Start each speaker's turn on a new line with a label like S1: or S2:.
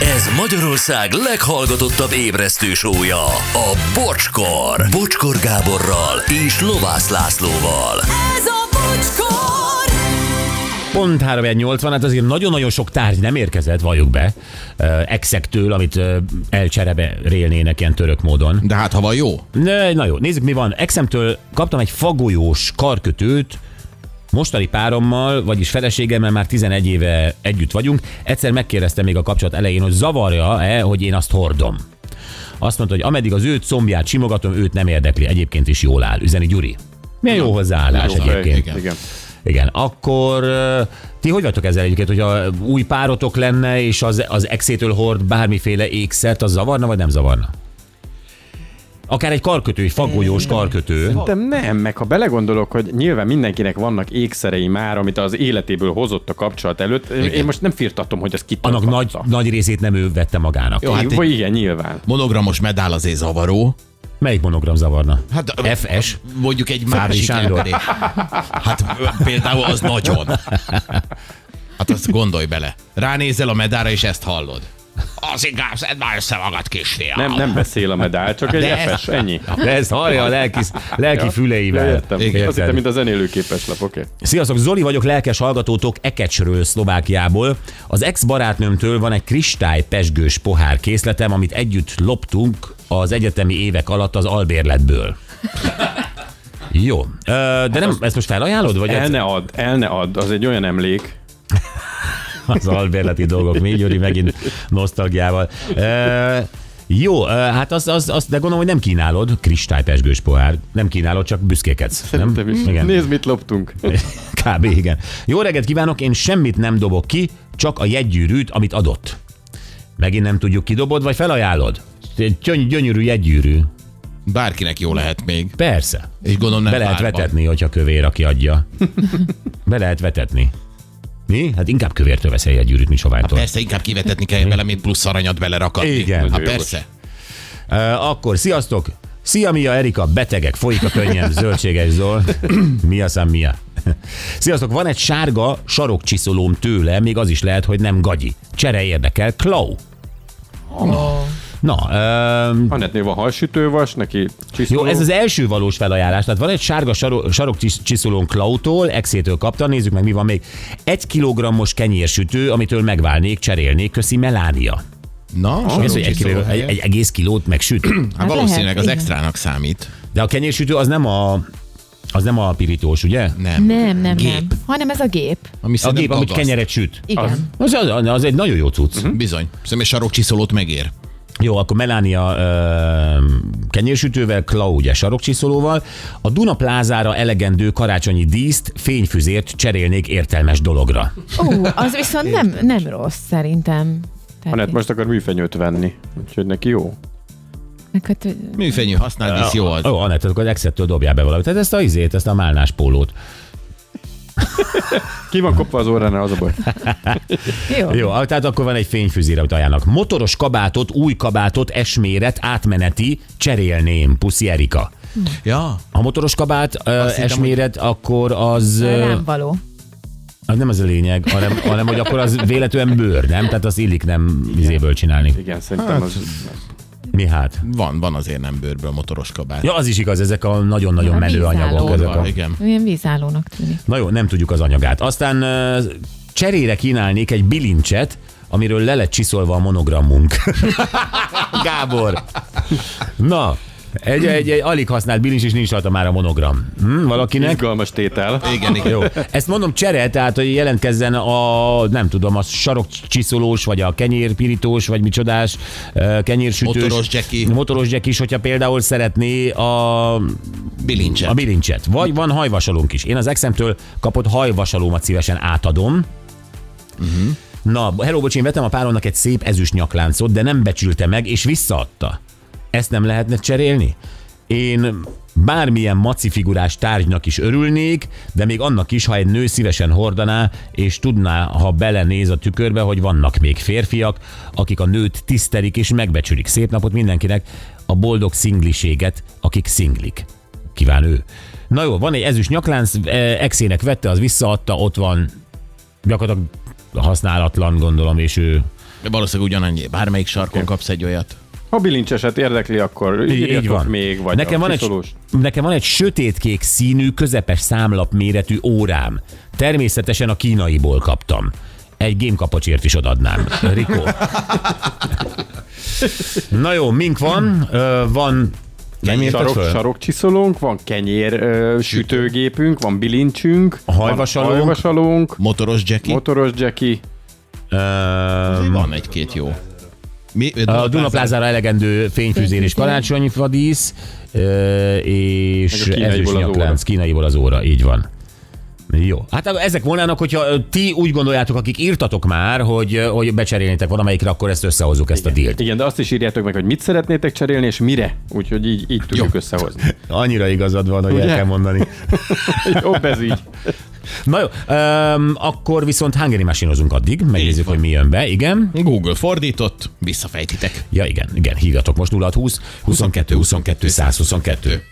S1: Ez Magyarország leghallgatottabb ébresztő sója, a Bocskor. Bocskor Gáborral és Lovász Lászlóval.
S2: Ez a bocskor!
S3: Pont 380, hát azért nagyon-nagyon sok tárgy nem érkezett, valljuk be, ö, exektől, amit ö, elcserebe rélnének ilyen török módon.
S4: De hát ha van jó.
S3: Ne, Na jó, nézzük mi van. Exemtől kaptam egy fagolyós karkötőt, mostani párommal, vagyis feleségemmel már 11 éve együtt vagyunk. Egyszer megkérdeztem még a kapcsolat elején, hogy zavarja-e, hogy én azt hordom. Azt mondta, hogy ameddig az ő combját simogatom, őt nem érdekli. Egyébként is jól áll. Üzeni Gyuri. Milyen jó hozzáállás egyébként.
S4: Igen.
S5: Igen.
S3: Igen, akkor ö, ti hogy vagytok ezzel egyébként, hogyha új párotok lenne, és az, az exétől hord bármiféle ékszert, az zavarna, vagy nem zavarna? Akár egy karkötő, egy fagolyós karkötő.
S5: De nem, meg ha belegondolok, hogy nyilván mindenkinek vannak ékszerei már, amit az életéből hozott a kapcsolat előtt. Én, én most nem firtatom, hogy ez
S3: Annak
S5: kitartatta.
S3: nagy, nagy részét nem ő vette magának.
S4: Jó, hát
S5: Hát
S4: egy
S5: Vagy igen, nyilván.
S4: monogramos medál azért zavaró.
S3: Melyik monogram zavarna?
S4: Hát,
S3: FS?
S4: Mondjuk egy
S3: Fábri
S4: másik
S3: Sándor?
S4: emberé. Hát például az nagyon. Hát azt gondolj bele. Ránézel a medára, és ezt hallod. Az inkább szedd már össze magad, kisfiam.
S5: Nem, nem beszél a medál, csak egy
S4: De-
S5: FS, ennyi.
S3: De Ah. ez hallja a lelki, lelki
S5: Ja,
S3: füleivel.
S5: értem.
S3: Érted?
S5: Azt hittem, mint a zenélőképes lap, oké.
S3: Sziasztok, Zoli vagyok, lelkes hallgatótok Ekecsről, Szlovákiából. Az ex-barátnőmtől van egy kristály pesgős pohár készletem, amit együtt loptunk az egyetemi évek alatt az albérletből. Jó, Ö, de nem, ezt most felajánlod? Vagy
S5: El
S3: ez-
S5: ne add, el ne add, az egy olyan emlék.
S3: az albérleti dolgok. Mi Gyuri megint nosztalgiával. E, jó, e, hát azt az, az, de gondolom, hogy nem kínálod kristálypesgős pohár. Nem kínálod, csak büszkékedsz. Nem?
S5: Te is. Nézd, mit loptunk.
S3: Kb. igen. Jó reggelt kívánok, én semmit nem dobok ki, csak a jegygyűrűt, amit adott. Megint nem tudjuk, kidobod, vagy felajánlod? Egy gyöny- gyönyörű jegygyűrű.
S4: Bárkinek jó lehet még.
S3: Persze.
S4: És gondolom nem
S3: Be lehet
S4: párban.
S3: vetetni, hogyha kövér, aki adja. Be lehet vetetni. Mi? Hát inkább kövértől veszel jegygyűrűt, mint soványtól.
S4: Hát Persze, inkább kivetetni kell vele, mint plusz aranyat belerakadni.
S3: Igen.
S4: Hát
S5: Nagyon jogos.
S4: persze.
S3: Ö, akkor sziasztok! Szia Mia Erika, betegek, folyik a könnyen, zöldséges Zol. Mia szám Mia. Sziasztok, van egy sárga sarokcsiszolóm tőle, még az is lehet, hogy nem gagyi. Csere érdekel, Klau. Na, öm,
S5: Annettnél van halsütővas, neki csiszoló.
S3: jó, ez az első valós felajánlás. Tehát van egy sárga sarok, sarokcsiszolón Klautól, exétől kapta, nézzük meg mi van még. Egy kilogrammos kenyérsütő, amitől megválnék, cserélnék, köszi Melánia.
S4: Na,
S3: Ez, hogy egy,
S4: sarokcsiszoló
S3: kiló, egy,
S4: helyen.
S3: egy egész kilót megsüt.
S4: Hát
S6: Hát
S4: valószínűleg
S6: lehet,
S4: az
S6: igen.
S4: extrának számít.
S3: De a kenyérsütő az nem a, az nem a pirítós, ugye?
S4: Nem.
S6: Nem, nem,
S4: Gép.
S6: nem. Hanem ez a gép.
S4: Ami
S3: A
S4: szerintem
S3: gép, amit
S4: dagaszt.
S3: kenyeret süt.
S6: Igen. Az...
S3: Az, az, az egy nagyon jó cucc. Uh-huh.
S4: Bizony. Szerintem egy sarokcsiszolót megér.
S3: Jó, akkor Melania ö, kenyérsütővel, Klau ugye sarokcsiszolóval. A Duna plázára elegendő karácsonyi díszt, fényfüzért cserélnék értelmes dologra.
S6: Ú, az viszont nem, nem rossz szerintem. Tehát
S5: Anett Hát most akar műfenyőt venni, úgyhogy neki jó.
S6: meg hát, hogy-
S4: Műfenyő használd, is jó az.
S3: Ó, Anett, akkor az Exettől dobjál be valamit. Tehát ezt a izét, ezt a málnás pólót.
S5: Ki van kopva az óránál, az a baj.
S6: Jó.
S3: Jó, ah, tehát akkor van egy fényfüzér, amit ajánlnak. Motoros kabátot, új kabátot, esméret, átmeneti, cserélném, puszi Erika.
S4: Ja,
S3: A motoros kabát, ö,
S4: hittem,
S3: esméret, akkor az... ö,
S6: Nem való.
S3: Az nem ez a lényeg, hanem, hanem hogy akkor az véletlen bőr, nem? Tehát az illik nem izéből csinálni.
S5: Igen,
S3: Hát.
S5: szerintem az...
S3: Mi hát?
S4: van, van azért nem bőrből motoros kabát.
S3: Ja, az is igaz, ezek a nagyon-nagyon
S6: A
S3: menő
S6: vízálló.
S3: anyagok. Ezek
S4: Van,
S3: a...
S4: igen.
S6: Ilyen vízállónak tűnik.
S3: Na jó, nem tudjuk az anyagát. Aztán ö, cserére kínálnék egy bilincset, amiről le lett csiszolva a monogrammunk. Gábor! Na, egy, egy, egy alig használt bilincs, és nincs rajta már a monogram. Hm, valakinek?
S5: Izgalmas tétel.
S4: Igen, igen.
S3: Jó. Ezt mondom csere, tehát hogy jelentkezzen a, nem tudom, a sarokcsiszolós, vagy a kenyérpirítós, vagy micsodás, ö, kenyérsütős.
S4: Motoros Jackie.
S3: Motoros Jack is, hogyha például szeretné a,
S4: Bilincset.
S3: a bilincset. Vagy van hajvasalónk is. Én az exemtől kapott hajvasalómat szívesen átadom. Na, hello, bocs, én vettem a páromnak egy szép ezüst nyakláncot, de nem becsülte meg, és visszaadta. Ezt nem lehetne cserélni? Én bármilyen macifigurás tárgynak is örülnék, de még annak is, ha egy nő szívesen hordaná, és tudná, ha belenéz a tükörbe, hogy vannak még férfiak, akik a nőt tisztelik és megbecsülik. Szép napot mindenkinek, a boldog szingliséget, akik szinglik. Kíván ő. Na jó, van egy ezüst nyaklánc, eh, exének vette, az visszaadta, ott van gyakorlatilag használatlan, gondolom, és ő
S4: Valószínűleg ugyanannyi. Bármelyik sarkon kapsz egy olyat.
S5: Ha bilincseset érdekli, akkor
S3: Így, így van.
S5: még, vagy
S3: nekem,
S5: a
S3: van egy,
S5: piszolós.
S3: nekem van egy sötétkék színű, közepes számlap méretű órám. Természetesen a kínaiból kaptam. Egy gémkapacsért is odadnám. Rikó. Na jó, mink van? Ö, van... Nem írtad
S5: Sarok,
S3: föl?
S5: sarokcsiszolónk, van kenyér ö, sütőgépünk, van bilincsünk,
S3: Hajvasalónk.
S5: van hajvasalónk
S4: Motoros Jackie? Mot-
S5: motoros Jackie,
S3: Ö,
S4: van egy-két jó. Mi?
S3: a Dunaplázára elegendő fényfűzérés karácsonyfadísz, ö, és
S5: Meg a kínaiból
S3: ezüst
S5: az
S3: nyaklánc, kínaiból az óra, így van. Jó. Hát ezek volnának, hogyha ö, ti úgy gondoljátok, akik írtatok már, hogy, ö, hogy becserélnétek valamelyikre, akkor ezt összehozzuk, ezt a dílt.
S5: Igen, de azt is írjátok meg, hogy mit szeretnétek cserélni, és mire. Úgyhogy így, így tudjuk
S4: Jó.
S5: összehozni.
S3: Annyira igazad van, hogy
S5: Ugye?
S3: el kell mondani.
S5: Jobb ez így.
S3: Na jó, öm, akkor viszont Hungary Machine-ozunk addig, megnézzük,
S4: van.
S3: hogy mi jön be, igen.
S4: Google fordított, visszafejtitek.
S3: Ja, igen, igen, hívjatok most 0620 22 22 122.